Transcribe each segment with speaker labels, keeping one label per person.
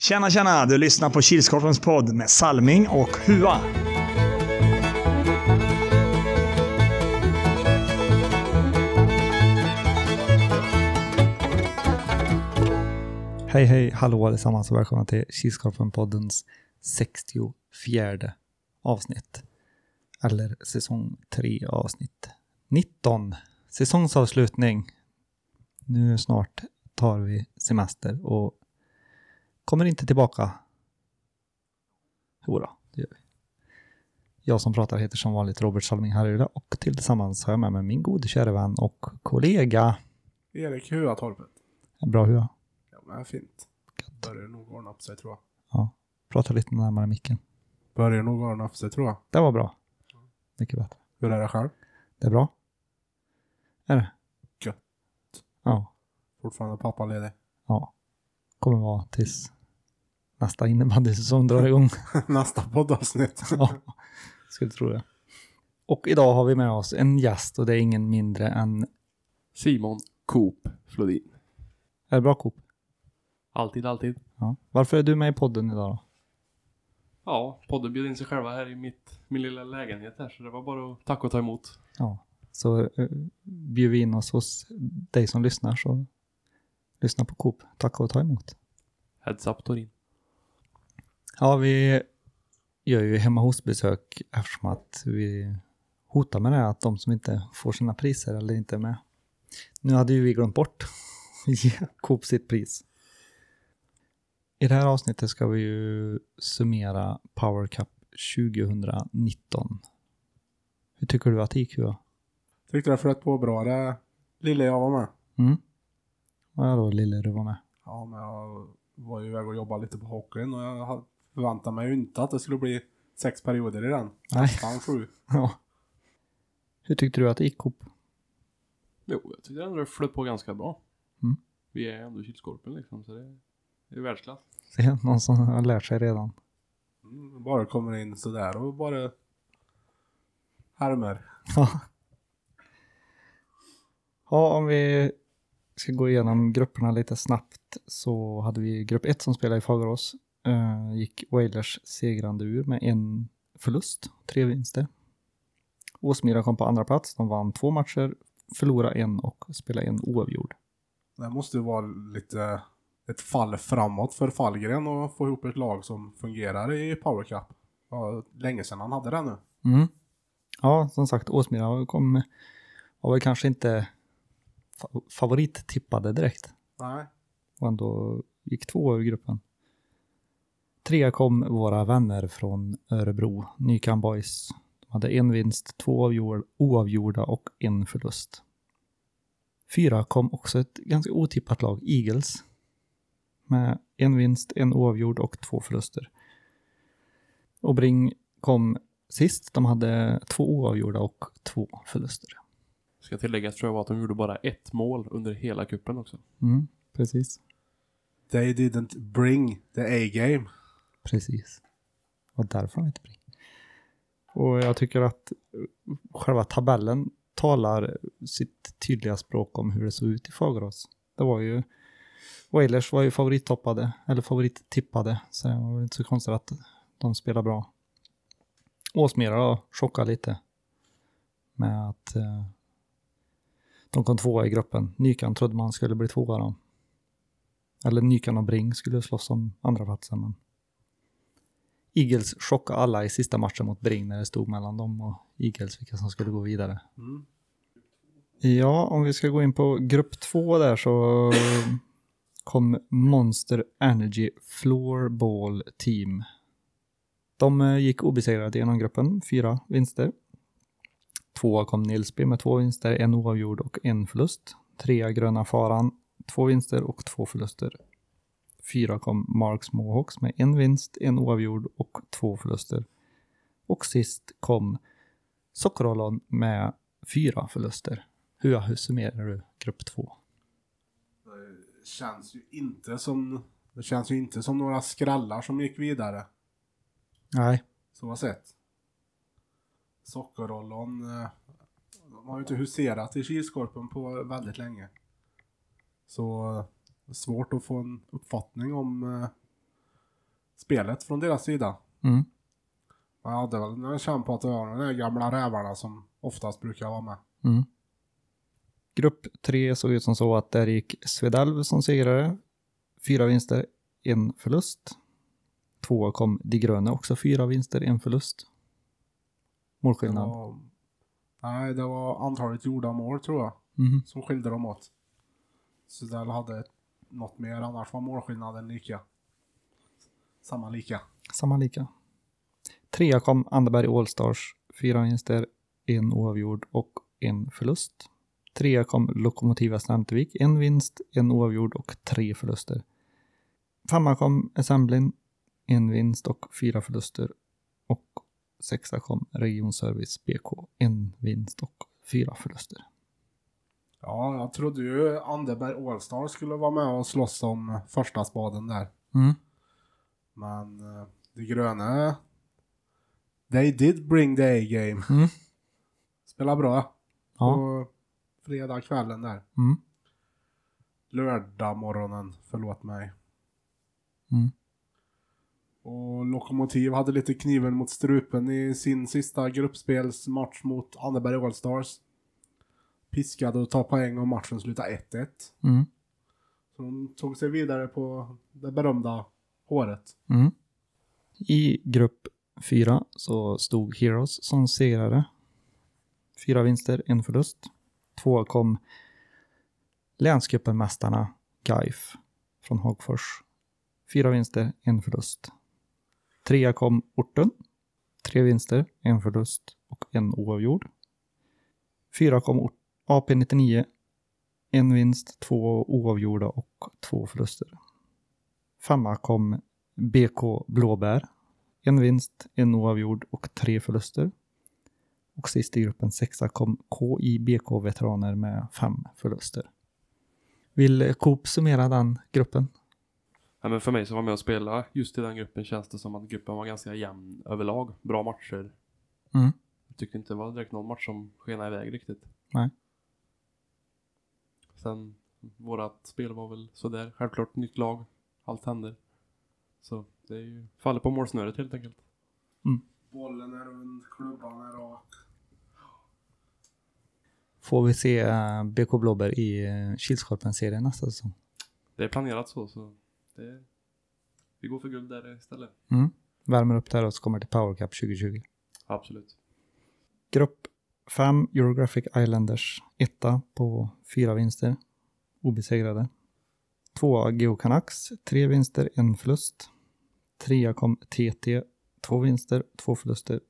Speaker 1: Tjena, tjena! Du lyssnar på Kilskorpens podd med Salming och Hua.
Speaker 2: Hej hej, hallå allesammans och välkomna till Kilskorpen-poddens 64 avsnitt. Eller säsong 3 avsnitt 19. Säsongsavslutning. Nu snart tar vi semester och kommer inte tillbaka. Jodå, det gör vi. Jag som pratar heter som vanligt Robert Salming Harjula och tillsammans har jag med mig min gode kära vän och kollega.
Speaker 3: Erik Huatorpet.
Speaker 2: Bra hur jag
Speaker 3: Ja, men fint. Börjar nog ordna upp sig tror jag.
Speaker 2: pratar lite närmare micken.
Speaker 3: Börjar nog ordna upp sig tror jag.
Speaker 2: Det var bra. Mycket bättre.
Speaker 3: Hur är det själv?
Speaker 2: Det är bra. Är det?
Speaker 3: Gött.
Speaker 2: Ja.
Speaker 3: Fortfarande pappaledig?
Speaker 2: Ja. Kommer vara tills nästa innebandysäsong drar igång.
Speaker 3: Nästa poddavsnitt.
Speaker 2: ja. Skulle tro det. Och idag har vi med oss en gäst och det är ingen mindre än...
Speaker 4: Simon Coop Flodin.
Speaker 2: Är det bra Coop?
Speaker 4: Alltid, alltid.
Speaker 2: Ja. Varför är du med i podden idag då?
Speaker 4: Ja, podden bjöd in sig själva här i mitt, min lilla lägenhet här, så det var bara att tacka och ta emot.
Speaker 2: Ja. Så eh, bjuder vi in oss hos dig som lyssnar så lyssna på Coop. Tack och ta emot.
Speaker 4: Heads up Torin.
Speaker 2: Ja, vi gör ju hemma hos-besök eftersom att vi hotar med det här att de som inte får sina priser eller inte är med. Nu hade ju vi glömt bort att ge Coop sitt pris. I det här avsnittet ska vi ju summera Power Cup 2019. Hur tycker du att det gick? Hua?
Speaker 3: Tyckte det flöt på bra det lilla jag var med.
Speaker 2: Mm? Ja, då lille du var med.
Speaker 3: Ja, men jag var ju iväg och jobbade lite på hockeyn och jag hade- förväntade mig ju inte att det skulle bli sex perioder i den.
Speaker 2: Nej.
Speaker 3: Fan sju.
Speaker 2: Ja. Hur tyckte du att det gick Coop?
Speaker 4: Jo, jag tyckte ändå det flöt på ganska bra.
Speaker 2: Mm.
Speaker 4: Vi är ändå Kilskorpen liksom, så det det är världsklass.
Speaker 2: Det är någon som har lärt sig redan.
Speaker 3: Mm, Bara kommer in sådär och bara härmer.
Speaker 2: Ja. ja, om vi ska gå igenom grupperna lite snabbt så hade vi grupp 1 som spelade i Fagerås. Eh, gick Wailers segrande ur med en förlust, tre vinster. Åsmyra kom på andra plats. De vann två matcher, förlorade en och spelade en oavgjord.
Speaker 3: Det måste ju vara lite ett fall framåt för Fallgren och få ihop ett lag som fungerar i Power Cup. Ja, länge sedan han hade det nu.
Speaker 2: Mm. Ja, som sagt, Åsmyra kom, var väl kanske inte fa- favorittippade direkt.
Speaker 3: Nej.
Speaker 2: och ändå gick två ur gruppen. Trea kom våra vänner från Örebro, Nykan Boys. De hade en vinst, två avgjord- oavgjorda och en förlust. Fyra kom också ett ganska otippat lag, Eagles. Med en vinst, en oavgjord och två förluster. Och Bring kom sist. De hade två oavgjorda och två förluster.
Speaker 4: Ska tilläggas tror jag var att de gjorde bara ett mål under hela kuppen också.
Speaker 2: Mm, precis.
Speaker 3: They didn't bring the A-game.
Speaker 2: Precis. Och därför har vi inte Bring. Och jag tycker att eh, själva tabellen talar sitt tydliga språk om hur det såg ut i Fagerås. Det var ju... Wailers var ju favorittoppade, eller favorittippade, så det var väl inte så konstigt att de spelar bra. Åsmyra då, chockade lite. Med att eh, de kom tvåa i gruppen. Nykan trodde man skulle bli tvåa då. Eller Nykan och Bring skulle slåss om andra platsen, men Eagles chockade alla i sista matchen mot Bring när det stod mellan dem och Eagles vilka som skulle gå vidare.
Speaker 3: Mm.
Speaker 2: Ja, om vi ska gå in på grupp två där så kom Monster Energy Floorball Team. De eh, gick obesegrade genom gruppen, fyra vinster. Tvåa kom Nilsby med två vinster, en oavgjord och en förlust. Trea Gröna Faran, två vinster och två förluster. Fyra kom Marks Mohawks med en vinst, en oavgjord och två förluster. Och sist kom Sockerollon med fyra förluster. Hur, hur summerar du grupp två?
Speaker 3: Det känns ju inte som... Det känns ju inte som några skrallar som gick vidare.
Speaker 2: Nej.
Speaker 3: Som har sett. Sockerrollon. eh, De har ju inte huserat i Kilskorpen på väldigt länge. Så eh, svårt att få en uppfattning om eh, spelet från deras sida.
Speaker 2: Mm.
Speaker 3: Man hade väl en känn på att det var de där gamla rävarna som oftast brukar vara med.
Speaker 2: Mm. Grupp tre såg ut som så att där gick Svedalv som segrare. Fyra vinster, en förlust. Tvåa kom De Gröna också, fyra vinster, en förlust.
Speaker 3: Det
Speaker 2: Målskillnad.
Speaker 3: var, nej, det var antalet gjorda mål tror jag
Speaker 2: Mhm.
Speaker 3: som skilde dem åt. Sudell hade ett- något mer, annars var målskillnaden lika. Samma lika.
Speaker 2: Samma lika. Trea kom Anderberg Allstars, fyra vinster, en oavgjord och en förlust. Trea kom Lokomotiv Snämtvik, en vinst, en oavgjord och tre förluster. Femma kom Assemblin, en vinst och fyra förluster. Och sexa kom Regionservice BK, en vinst och fyra förluster.
Speaker 3: Ja, jag trodde ju Anderberg Allstar skulle vara med och slåss om första spaden där.
Speaker 2: Mm.
Speaker 3: Men eh, det gröna, they did bring the A-game.
Speaker 2: Mm.
Speaker 3: Spela bra
Speaker 2: Ja.
Speaker 3: på fredag kvällen där.
Speaker 2: Mm.
Speaker 3: Lördag morgonen, förlåt mig.
Speaker 2: Mm.
Speaker 3: Och Lokomotiv hade lite kniven mot strupen i sin sista gruppspelsmatch mot Anderberg Allstars. Piskade och tog poäng och matchen slutade 1-1.
Speaker 2: Mm.
Speaker 3: Så de tog sig vidare på det berömda håret.
Speaker 2: Mm. I grupp fyra så stod Heroes som segrare. Fyra vinster, en förlust. Två kom länscupenmästarna Gaif från Hagfors. Fyra vinster, en förlust. Trea kom Orten. Tre vinster, en förlust och en oavgjord. Fyra kom Or- AP99. En vinst, två oavgjorda och två förluster. Femma kom BK Blåbär. En vinst, en oavgjord och tre förluster. Och sist i gruppen sexa kom KI BK Veteraner med fem förluster. Vill Coop summera den gruppen?
Speaker 4: Nej, men för mig som var med och spelade just i den gruppen känns det som att gruppen var ganska jämn överlag. Bra matcher.
Speaker 2: Mm.
Speaker 4: Jag tyckte inte det var direkt någon match som skenade iväg riktigt.
Speaker 2: Nej.
Speaker 4: Sen, vårat spel var väl sådär. Självklart nytt lag. Allt händer. Så det är ju, faller på målsnöret helt enkelt.
Speaker 3: Bollen är rund, klubban är rak.
Speaker 2: Får vi se eh, BK Blåbär i eh, Kilskorpen-serien nästa säsong?
Speaker 4: Det är planerat så, så det, vi går för guld där istället.
Speaker 2: Mm. Värmer upp där och så kommer till Power Cup 2020.
Speaker 4: Absolut.
Speaker 2: Grupp 5, Eurographic Islanders, etta på fyra vinster, obesegrade. Tvåa Geo Canucks, tre vinster, en förlust. Trea kom TT, två vinster, två förluster.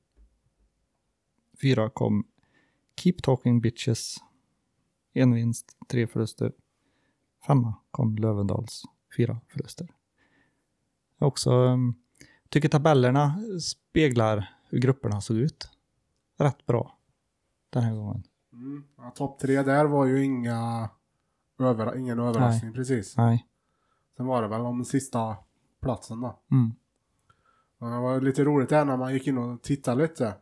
Speaker 2: Fyra kom Keep Talking Bitches, en vinst, tre förluster. Femma kom Lövendals, fyra förluster. Jag också um, tycker tabellerna speglar hur grupperna såg ut rätt bra den här gången.
Speaker 3: Mm. Ja, Topp tre där var ju inga över, ingen överraskning precis.
Speaker 2: Nej.
Speaker 3: Sen var det väl om sista platsen då.
Speaker 2: Mm.
Speaker 3: Men det var lite roligt där när man gick in och tittade lite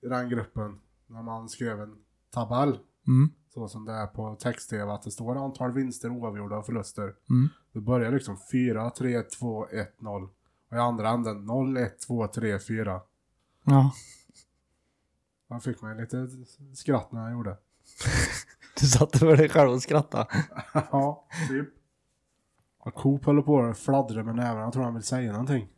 Speaker 3: i den gruppen. När man skrev en tabell.
Speaker 2: Mm.
Speaker 3: Så som det är på text-tv att det står antal vinster, oavgjorda och förluster.
Speaker 2: Mm.
Speaker 3: Det börjar liksom 4, 3, 2, 1, 0. Och i andra änden 0, 1, 2, 3, 4.
Speaker 2: Ja,
Speaker 3: Man fick mig lite skratt när jag gjorde.
Speaker 2: du satte för dig själv och skrattade.
Speaker 3: ja, typ. Ja, Coop håller på och fladdrar med nävarna. Jag tror han vill säga någonting.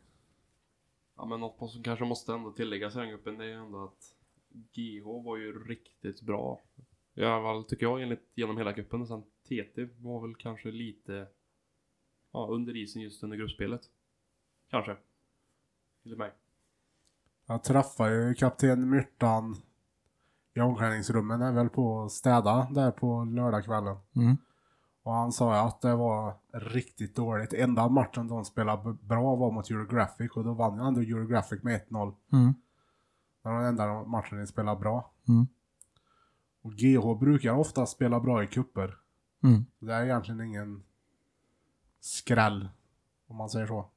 Speaker 4: Ja, men något som kanske måste ändå tilläggas i den gruppen, det är ju ändå att GH var ju riktigt bra. I alla fall tycker jag enligt, genom hela gruppen. Och sen TT var väl kanske lite ja, under isen just under gruppspelet. Kanske. Enligt mig.
Speaker 3: Jag träffade ju kapten Myrtan i omklädningsrummet när jag väl på att städa där på lördagskvällen.
Speaker 2: Mm.
Speaker 3: Och han sa ju att det var riktigt dåligt. Enda matchen de spelade b- bra var mot Eurographic och då vann ju ändå Eurographic med 1-0.
Speaker 2: Mm.
Speaker 3: Det var den enda matchen de spelade bra.
Speaker 2: Mm.
Speaker 3: Och GH brukar ofta spela bra i kupper.
Speaker 2: Mm.
Speaker 3: Det är egentligen ingen skräll, om man säger så.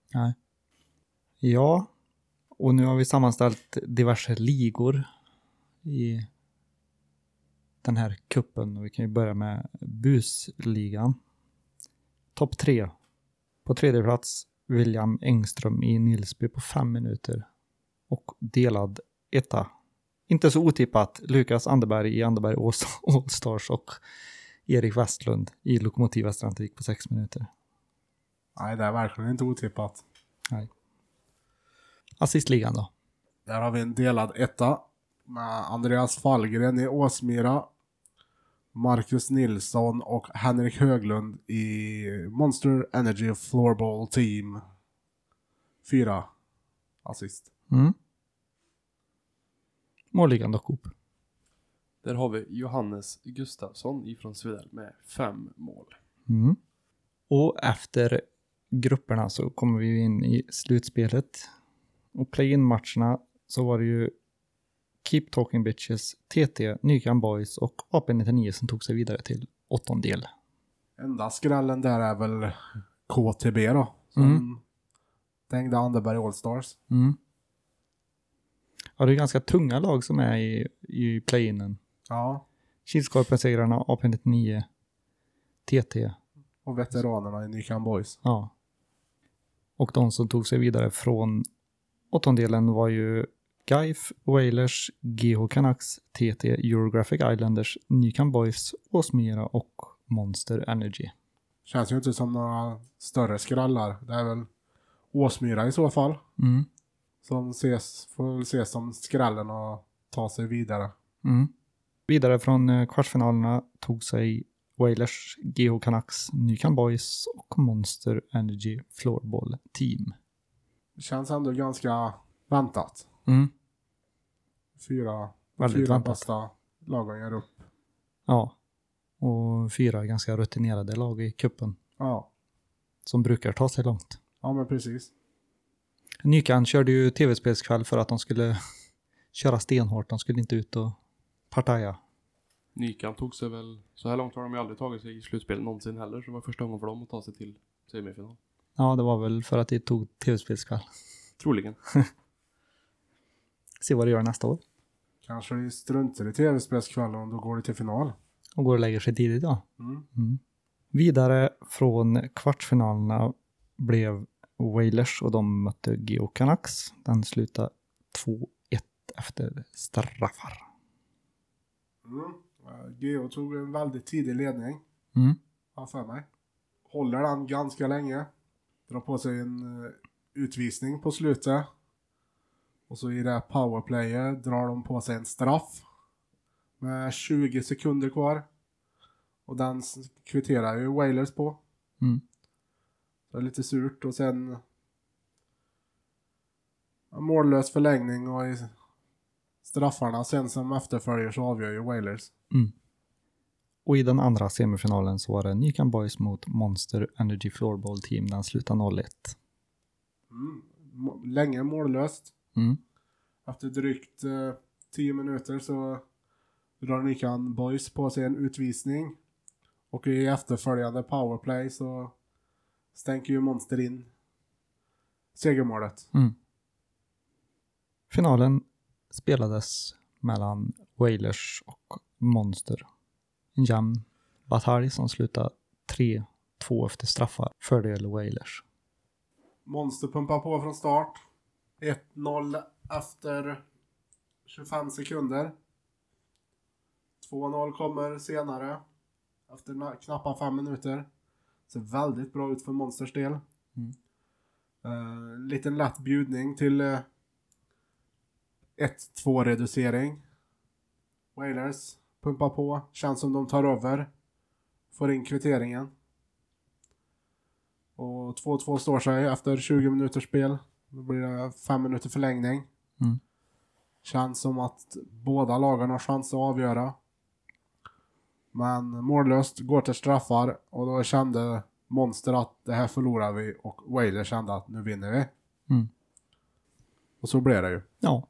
Speaker 2: Ja, och nu har vi sammanställt diverse ligor i den här kuppen. Och vi kan ju börja med busligan. Topp tre. På tredje plats William Engström i Nilsby på fem minuter. Och delad etta. Inte så otippat, Lukas Anderberg i Anderberg All- Allstars och Erik Westlund i Lokomotiv Västervik på sex minuter.
Speaker 3: Nej, det är verkligen inte otippat.
Speaker 2: Assistligan då.
Speaker 3: Där har vi en delad etta med Andreas Fallgren i Åsmyra, Marcus Nilsson och Henrik Höglund i Monster Energy Floorball Team. Fyra assist.
Speaker 2: Mm. Målligan då, Coop.
Speaker 4: Där har vi Johannes Gustafsson ifrån Svedal med fem mål.
Speaker 2: Mm. Och efter grupperna så kommer vi ju in i slutspelet. Och play-in-matcherna så var det ju Keep Talking Bitches, TT, Nykan Boys och AP-99 som tog sig vidare till åttondel.
Speaker 3: Enda skrällen där är väl KTB då. Som
Speaker 2: Mm.
Speaker 3: dängde Anderberg Allstars.
Speaker 2: Mm. Ja, det är ganska tunga lag som är i, i play-inen.
Speaker 3: Ja.
Speaker 2: Kilskorpen-segrarna, AP-99, TT,
Speaker 3: Och veteranerna i Nykan Boys.
Speaker 2: Ja. Och de som tog sig vidare från åttondelen var ju Gaif, Wailers, GH Canucks, TT, Eurographic Islanders, Nykan Boys, Åsmyra och Monster Energy.
Speaker 3: Känns ju inte som några större skrallar. Det är väl Åsmyra i så fall.
Speaker 2: Mm.
Speaker 3: Som ses, får väl ses som skrällen och ta sig vidare.
Speaker 2: Mm. Vidare från eh, kvartsfinalerna tog sig Wailers, GH Canucks, Nykan Boys och Monster Energy Floorball Team.
Speaker 3: Det känns ändå ganska väntat.
Speaker 2: Mm.
Speaker 3: Fyra,
Speaker 2: Väldigt
Speaker 3: fyra
Speaker 2: väntat.
Speaker 3: bästa lagen gör upp.
Speaker 2: Ja. Och fyra ganska rutinerade lag i kuppen
Speaker 3: Ja.
Speaker 2: som brukar ta sig långt.
Speaker 3: ja, men precis.
Speaker 2: Nykan körde ju tv-spelskväll för att de skulle köra stenhårt. De skulle inte ut och partaja.
Speaker 4: Nykan tog sig väl, så här långt har de ju aldrig tagit sig i slutspel någonsin heller, så det var första gången för dem att ta sig till semifinal.
Speaker 2: Ja, det var väl för att det tog tv-spelskväll.
Speaker 4: Troligen.
Speaker 2: Se vad det gör nästa år.
Speaker 3: Kanske de struntar i tv-spelskvällen och då går det till final.
Speaker 2: Och går och lägger sig tidigt då.
Speaker 3: Mm.
Speaker 2: Vidare från kvartsfinalerna blev Wailers och de mötte Geo Canucks. Den slutade 2-1 efter straffar.
Speaker 3: Mm. Geo tog en väldigt tidig ledning.
Speaker 2: Mm.
Speaker 3: har för mig. Håller den ganska länge. Drar på sig en eh, utvisning på slutet. Och så i det här powerplayet drar de på sig en straff. Med 20 sekunder kvar. Och den s- kvitterar ju Wailers på.
Speaker 2: Mm.
Speaker 3: Det är lite surt och sen en mållös förlängning och i straffarna sen som efterföljer så avgör ju Wailers.
Speaker 2: Och i den andra semifinalen så var det Nykan Boys mot Monster Energy Floorball Team. Den slutade 0-1.
Speaker 3: Mm. Må- Länge mållöst.
Speaker 2: Mm.
Speaker 3: Efter drygt eh, 10 minuter så drar Nykan Boys på sig en utvisning. Och i efterföljande powerplay så stänker ju Monster in segermålet.
Speaker 2: Finalen spelades mellan Wailers och Monster. En jämn batalj som slutade 3-2 efter straffar. Fördel Wailers.
Speaker 3: Monster pumpar på från start. 1-0 efter 25 sekunder. 2-0 kommer senare. Efter na- knappa 5 minuter. Ser väldigt bra ut för Monsters del.
Speaker 2: Mm.
Speaker 3: Eh, liten lätt bjudning till eh, 1-2 reducering. Wailers pumpar på. Känns som de tar över. Får in kvitteringen. Och 2-2 står sig efter 20 minuters spel. Då blir det 5 minuter förlängning.
Speaker 2: Mm.
Speaker 3: Känns som att båda lagen har chans att avgöra. Men mållöst går till straffar och då kände Monster att det här förlorar vi och Wailer kände att nu vinner vi.
Speaker 2: Mm.
Speaker 3: Och så blev det ju.
Speaker 2: Ja.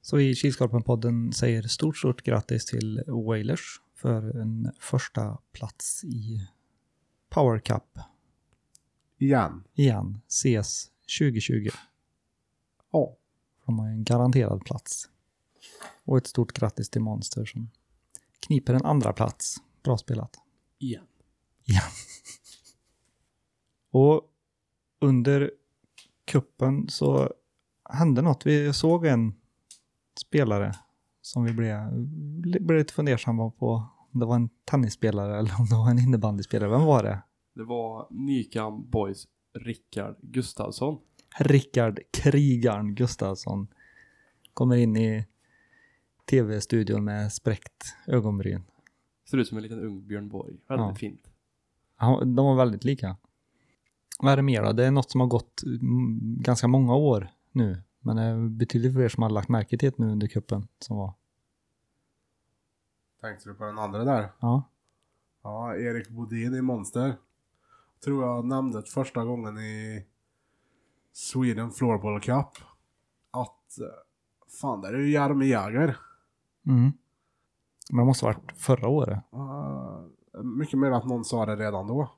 Speaker 2: Så i Kilskorpen-podden säger stort, stort grattis till Wailers för en första plats i Power Cup
Speaker 3: Igen.
Speaker 2: igen. Ses 2020.
Speaker 3: Ja.
Speaker 2: De har ju en garanterad plats. Och ett stort grattis till Monster som kniper en andra plats. Bra spelat.
Speaker 4: Igen.
Speaker 2: Ja. Och under kuppen så hände något. Vi såg en spelare som vi blev, blev lite fundersamma på. Om det var en tennisspelare eller om det var en innebandyspelare. Vem var det?
Speaker 4: Det var Nykan Boys Rickard Gustafsson.
Speaker 2: Rickard Krigarn Gustafsson kommer in i tv-studion med spräckt ögonbryn.
Speaker 4: Ser ut som en liten ung Björn Borg. Väldigt
Speaker 2: Ja.
Speaker 4: fint.
Speaker 2: Ja, De var väldigt lika. Vad är det mer då? Det är något som har gått mm, ganska många år nu. Men det är betydligt fler som har lagt märke till det nu under kuppen som var.
Speaker 3: Tänkte du på den andra där?
Speaker 2: Ja.
Speaker 3: Ja, Erik Bodin i Monster. Tror jag nämnde det första gången i Sweden Floorball Cup. Att, eh, fan där är ju Jaromir Jagr.
Speaker 2: Mm. Men det måste ha varit förra året.
Speaker 3: Ah, mycket mer att någon sa det redan då.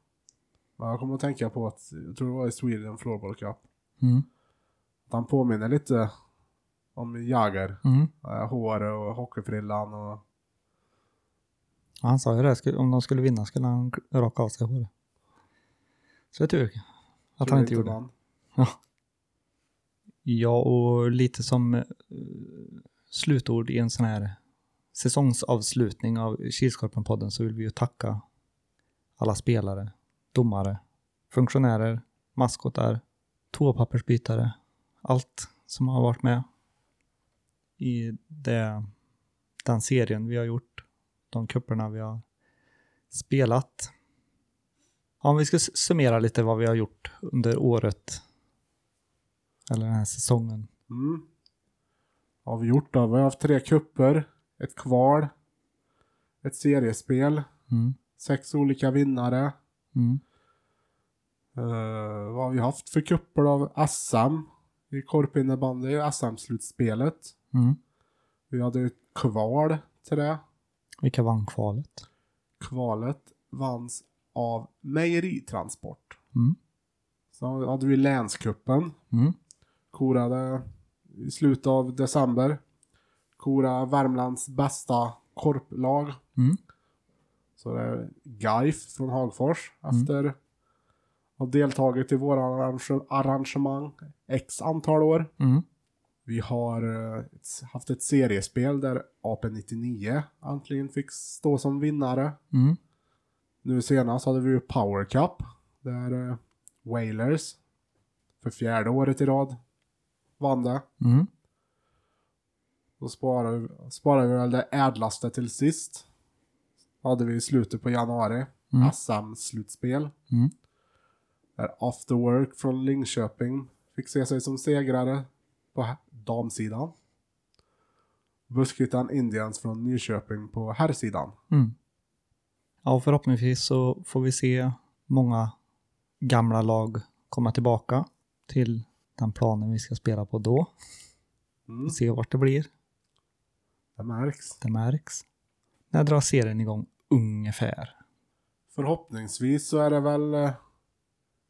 Speaker 3: Men jag kommer att tänka på att, jag tror det var i Sweden Floorball Cup.
Speaker 2: Mm.
Speaker 3: Att Han påminner lite om Jagr.
Speaker 2: Mm.
Speaker 3: Eh, Håret och hockeyfrillan och...
Speaker 2: Ja, han sa ju det, skulle- om de skulle vinna skulle han k- raka av sig håret. Så det är tur att
Speaker 3: Tror
Speaker 2: han
Speaker 3: du
Speaker 2: inte gjorde.
Speaker 3: vann?
Speaker 2: Ja, och lite som eh, slutord i en sån här säsongsavslutning av Kilskorpen-podden så vill vi ju tacka alla spelare, domare, funktionärer, maskotar, toapappersbytare, allt som har varit med i det, den serien vi har gjort, de cuperna vi har spelat. Om vi ska s- summera lite vad vi har gjort under året, eller den här säsongen.
Speaker 3: Mm. Vad har vi gjort då? Vi har haft tre kupper, ett kval, ett seriespel,
Speaker 2: Mm.
Speaker 3: sex olika vinnare.
Speaker 2: Mm.
Speaker 3: Eh, vad har vi haft för kupper av SM i korpinnebandy, SM-slutspelet.
Speaker 2: Mm.
Speaker 3: Vi hade ett kval till det.
Speaker 2: Vilka vann kvalet?
Speaker 3: Kvalet vanns av mejeritransport.
Speaker 2: Mm.
Speaker 3: Så hade vi länskuppen.
Speaker 2: Mm.
Speaker 3: korade i slutet av december. Kora Värmlands bästa korplag.
Speaker 2: Mm.
Speaker 3: Så det är Gaif från Hagfors
Speaker 2: Mm.
Speaker 3: efter att ha deltagit i våra arrange- arrangemang x antal år.
Speaker 2: Mm.
Speaker 3: Vi har eh, ett- haft ett seriespel där AP99 äntligen fick stå som vinnare.
Speaker 2: Mm.
Speaker 3: Nu senast hade vi ju Power Cup. Där eh, Wailers för fjärde året i rad vann det.
Speaker 2: Mm.
Speaker 3: Då sparar, vi- sparar vi väl det ädlaste till sist. Hade vi i slutet på januari.
Speaker 2: Mm.
Speaker 3: SM-slutspel.
Speaker 2: Mm.
Speaker 3: Där After Work från Linköping fick se sig som segrare på här- damsidan. Buskhyttan Indians från Nyköping på herrsidan.
Speaker 2: Mm. Ja, och förhoppningsvis så får vi se många gamla lag komma tillbaka till den planen vi ska spela på då.
Speaker 3: Mm.
Speaker 2: Vi ser vart det blir.
Speaker 3: Det märks.
Speaker 2: Det märks. När drar serien igång ungefär?
Speaker 3: Förhoppningsvis så är det väl eh,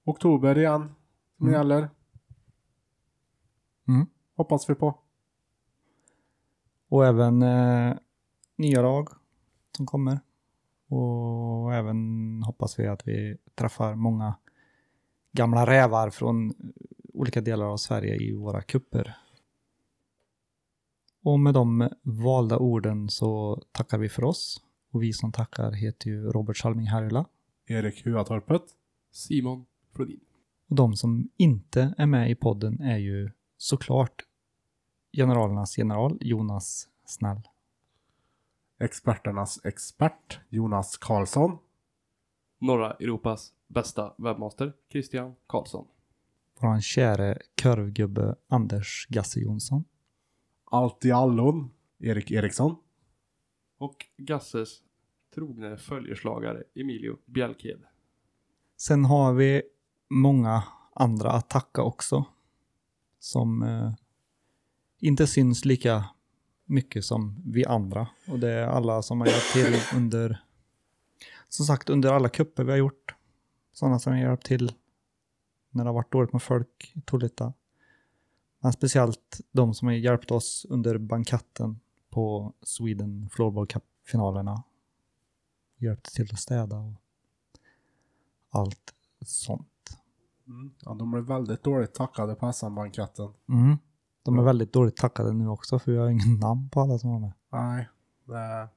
Speaker 3: oktober igen som
Speaker 2: Mm.
Speaker 3: gäller.
Speaker 2: Mm.
Speaker 3: Hoppas vi på.
Speaker 2: Och även eh, nya lag som kommer. Och även hoppas vi att vi träffar många gamla rävar från eh, olika delar av Sverige i våra kupper. Och med de valda orden så tackar vi för oss. Och vi som tackar heter ju Robert Salming Harjula.
Speaker 3: Erik Huatorpet.
Speaker 4: Simon Flodin.
Speaker 2: Och de som inte är med i podden är ju såklart generalernas general Jonas Snäll.
Speaker 3: Experternas expert Jonas Karlsson.
Speaker 4: Norra Europas bästa webbmaster, Christian Karlsson.
Speaker 2: våran käre körvgubbe Anders Gasse Jonsson.
Speaker 3: Allt i allon, Erik Eriksson.
Speaker 4: Och Gasses trogne följeslagare Emilio Bjälkhed.
Speaker 2: Sen har vi många andra att tacka också. Som eh, inte syns lika mycket som vi andra. Och det är alla som har hjälpt till under, som sagt, under alla kupper vi har gjort. Sådana som har hjälpt till när det har varit dåligt med folk i Tolita. Men speciellt de som har hjälpt oss under bankatten på Sweden Floorball Cup-finalerna. Hjälpte till att städa och allt sånt.
Speaker 3: Mm. Ja, de blev väldigt dåligt tackade på SM-banketten.
Speaker 2: Mm. De är väldigt dåligt tackade nu också för vi har ingen namn på alla som var med.
Speaker 3: Nej, det...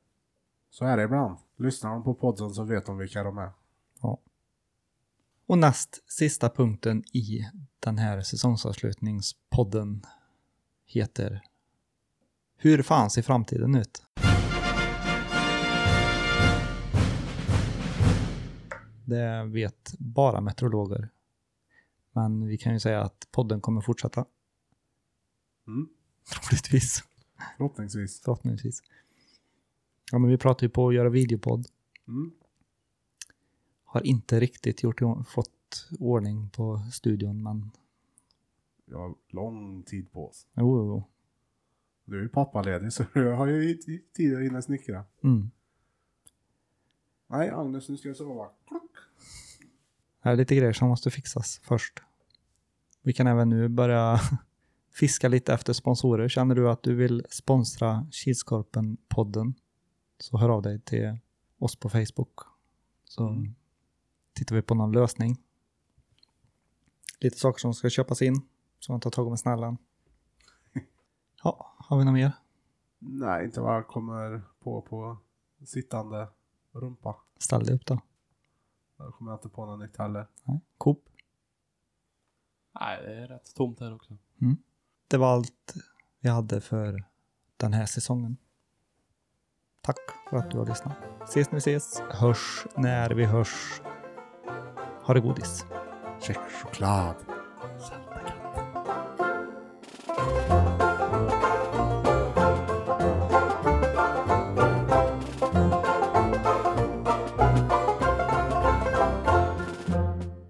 Speaker 3: så är det ibland. Lyssnar de på podden så vet de vilka de är.
Speaker 2: Och näst sista punkten i den här säsongsavslutningspodden heter Hur fan ser framtiden ut? Det vet bara meteorologer. Men vi kan ju säga att podden kommer fortsätta.
Speaker 3: Mm.
Speaker 2: Troligtvis.
Speaker 3: Förhoppningsvis.
Speaker 2: Förhoppningsvis. Ja, men vi pratar ju på att göra videopodd.
Speaker 3: Mm.
Speaker 2: Har inte riktigt gjort, i- fått ordning på studion, men
Speaker 3: Jag har lång tid på oss.
Speaker 2: jo, jo, jo.
Speaker 3: Du är ju pappaledig så du har ju i- i- tid att hinna snickra.
Speaker 2: Mm.
Speaker 3: Nej, Agnes, nu ska jag sova. Klock.
Speaker 2: Det är lite grejer som måste fixas först. Vi kan även nu börja fiska lite efter sponsorer. Känner du att du vill sponsra Kilskorpen-podden så hör av dig till oss på Facebook. Så
Speaker 3: Mm.
Speaker 2: tittar vi på någon lösning. Lite saker som ska köpas in som man tar tag om med snällan. Ja, har vi något mer?
Speaker 3: Nej, inte vad jag kommer på på sittande rumpa.
Speaker 2: Ställ dig upp då.
Speaker 3: Där kommer jag inte på något nytt heller.
Speaker 2: Nej. Coop.
Speaker 4: Nej, det är rätt tomt här också.
Speaker 2: Det var allt vi hade för den här säsongen. Tack för att du har lyssnat. Ses när vi ses, hörs när vi hörs. Ha det godis.
Speaker 3: Check choklad.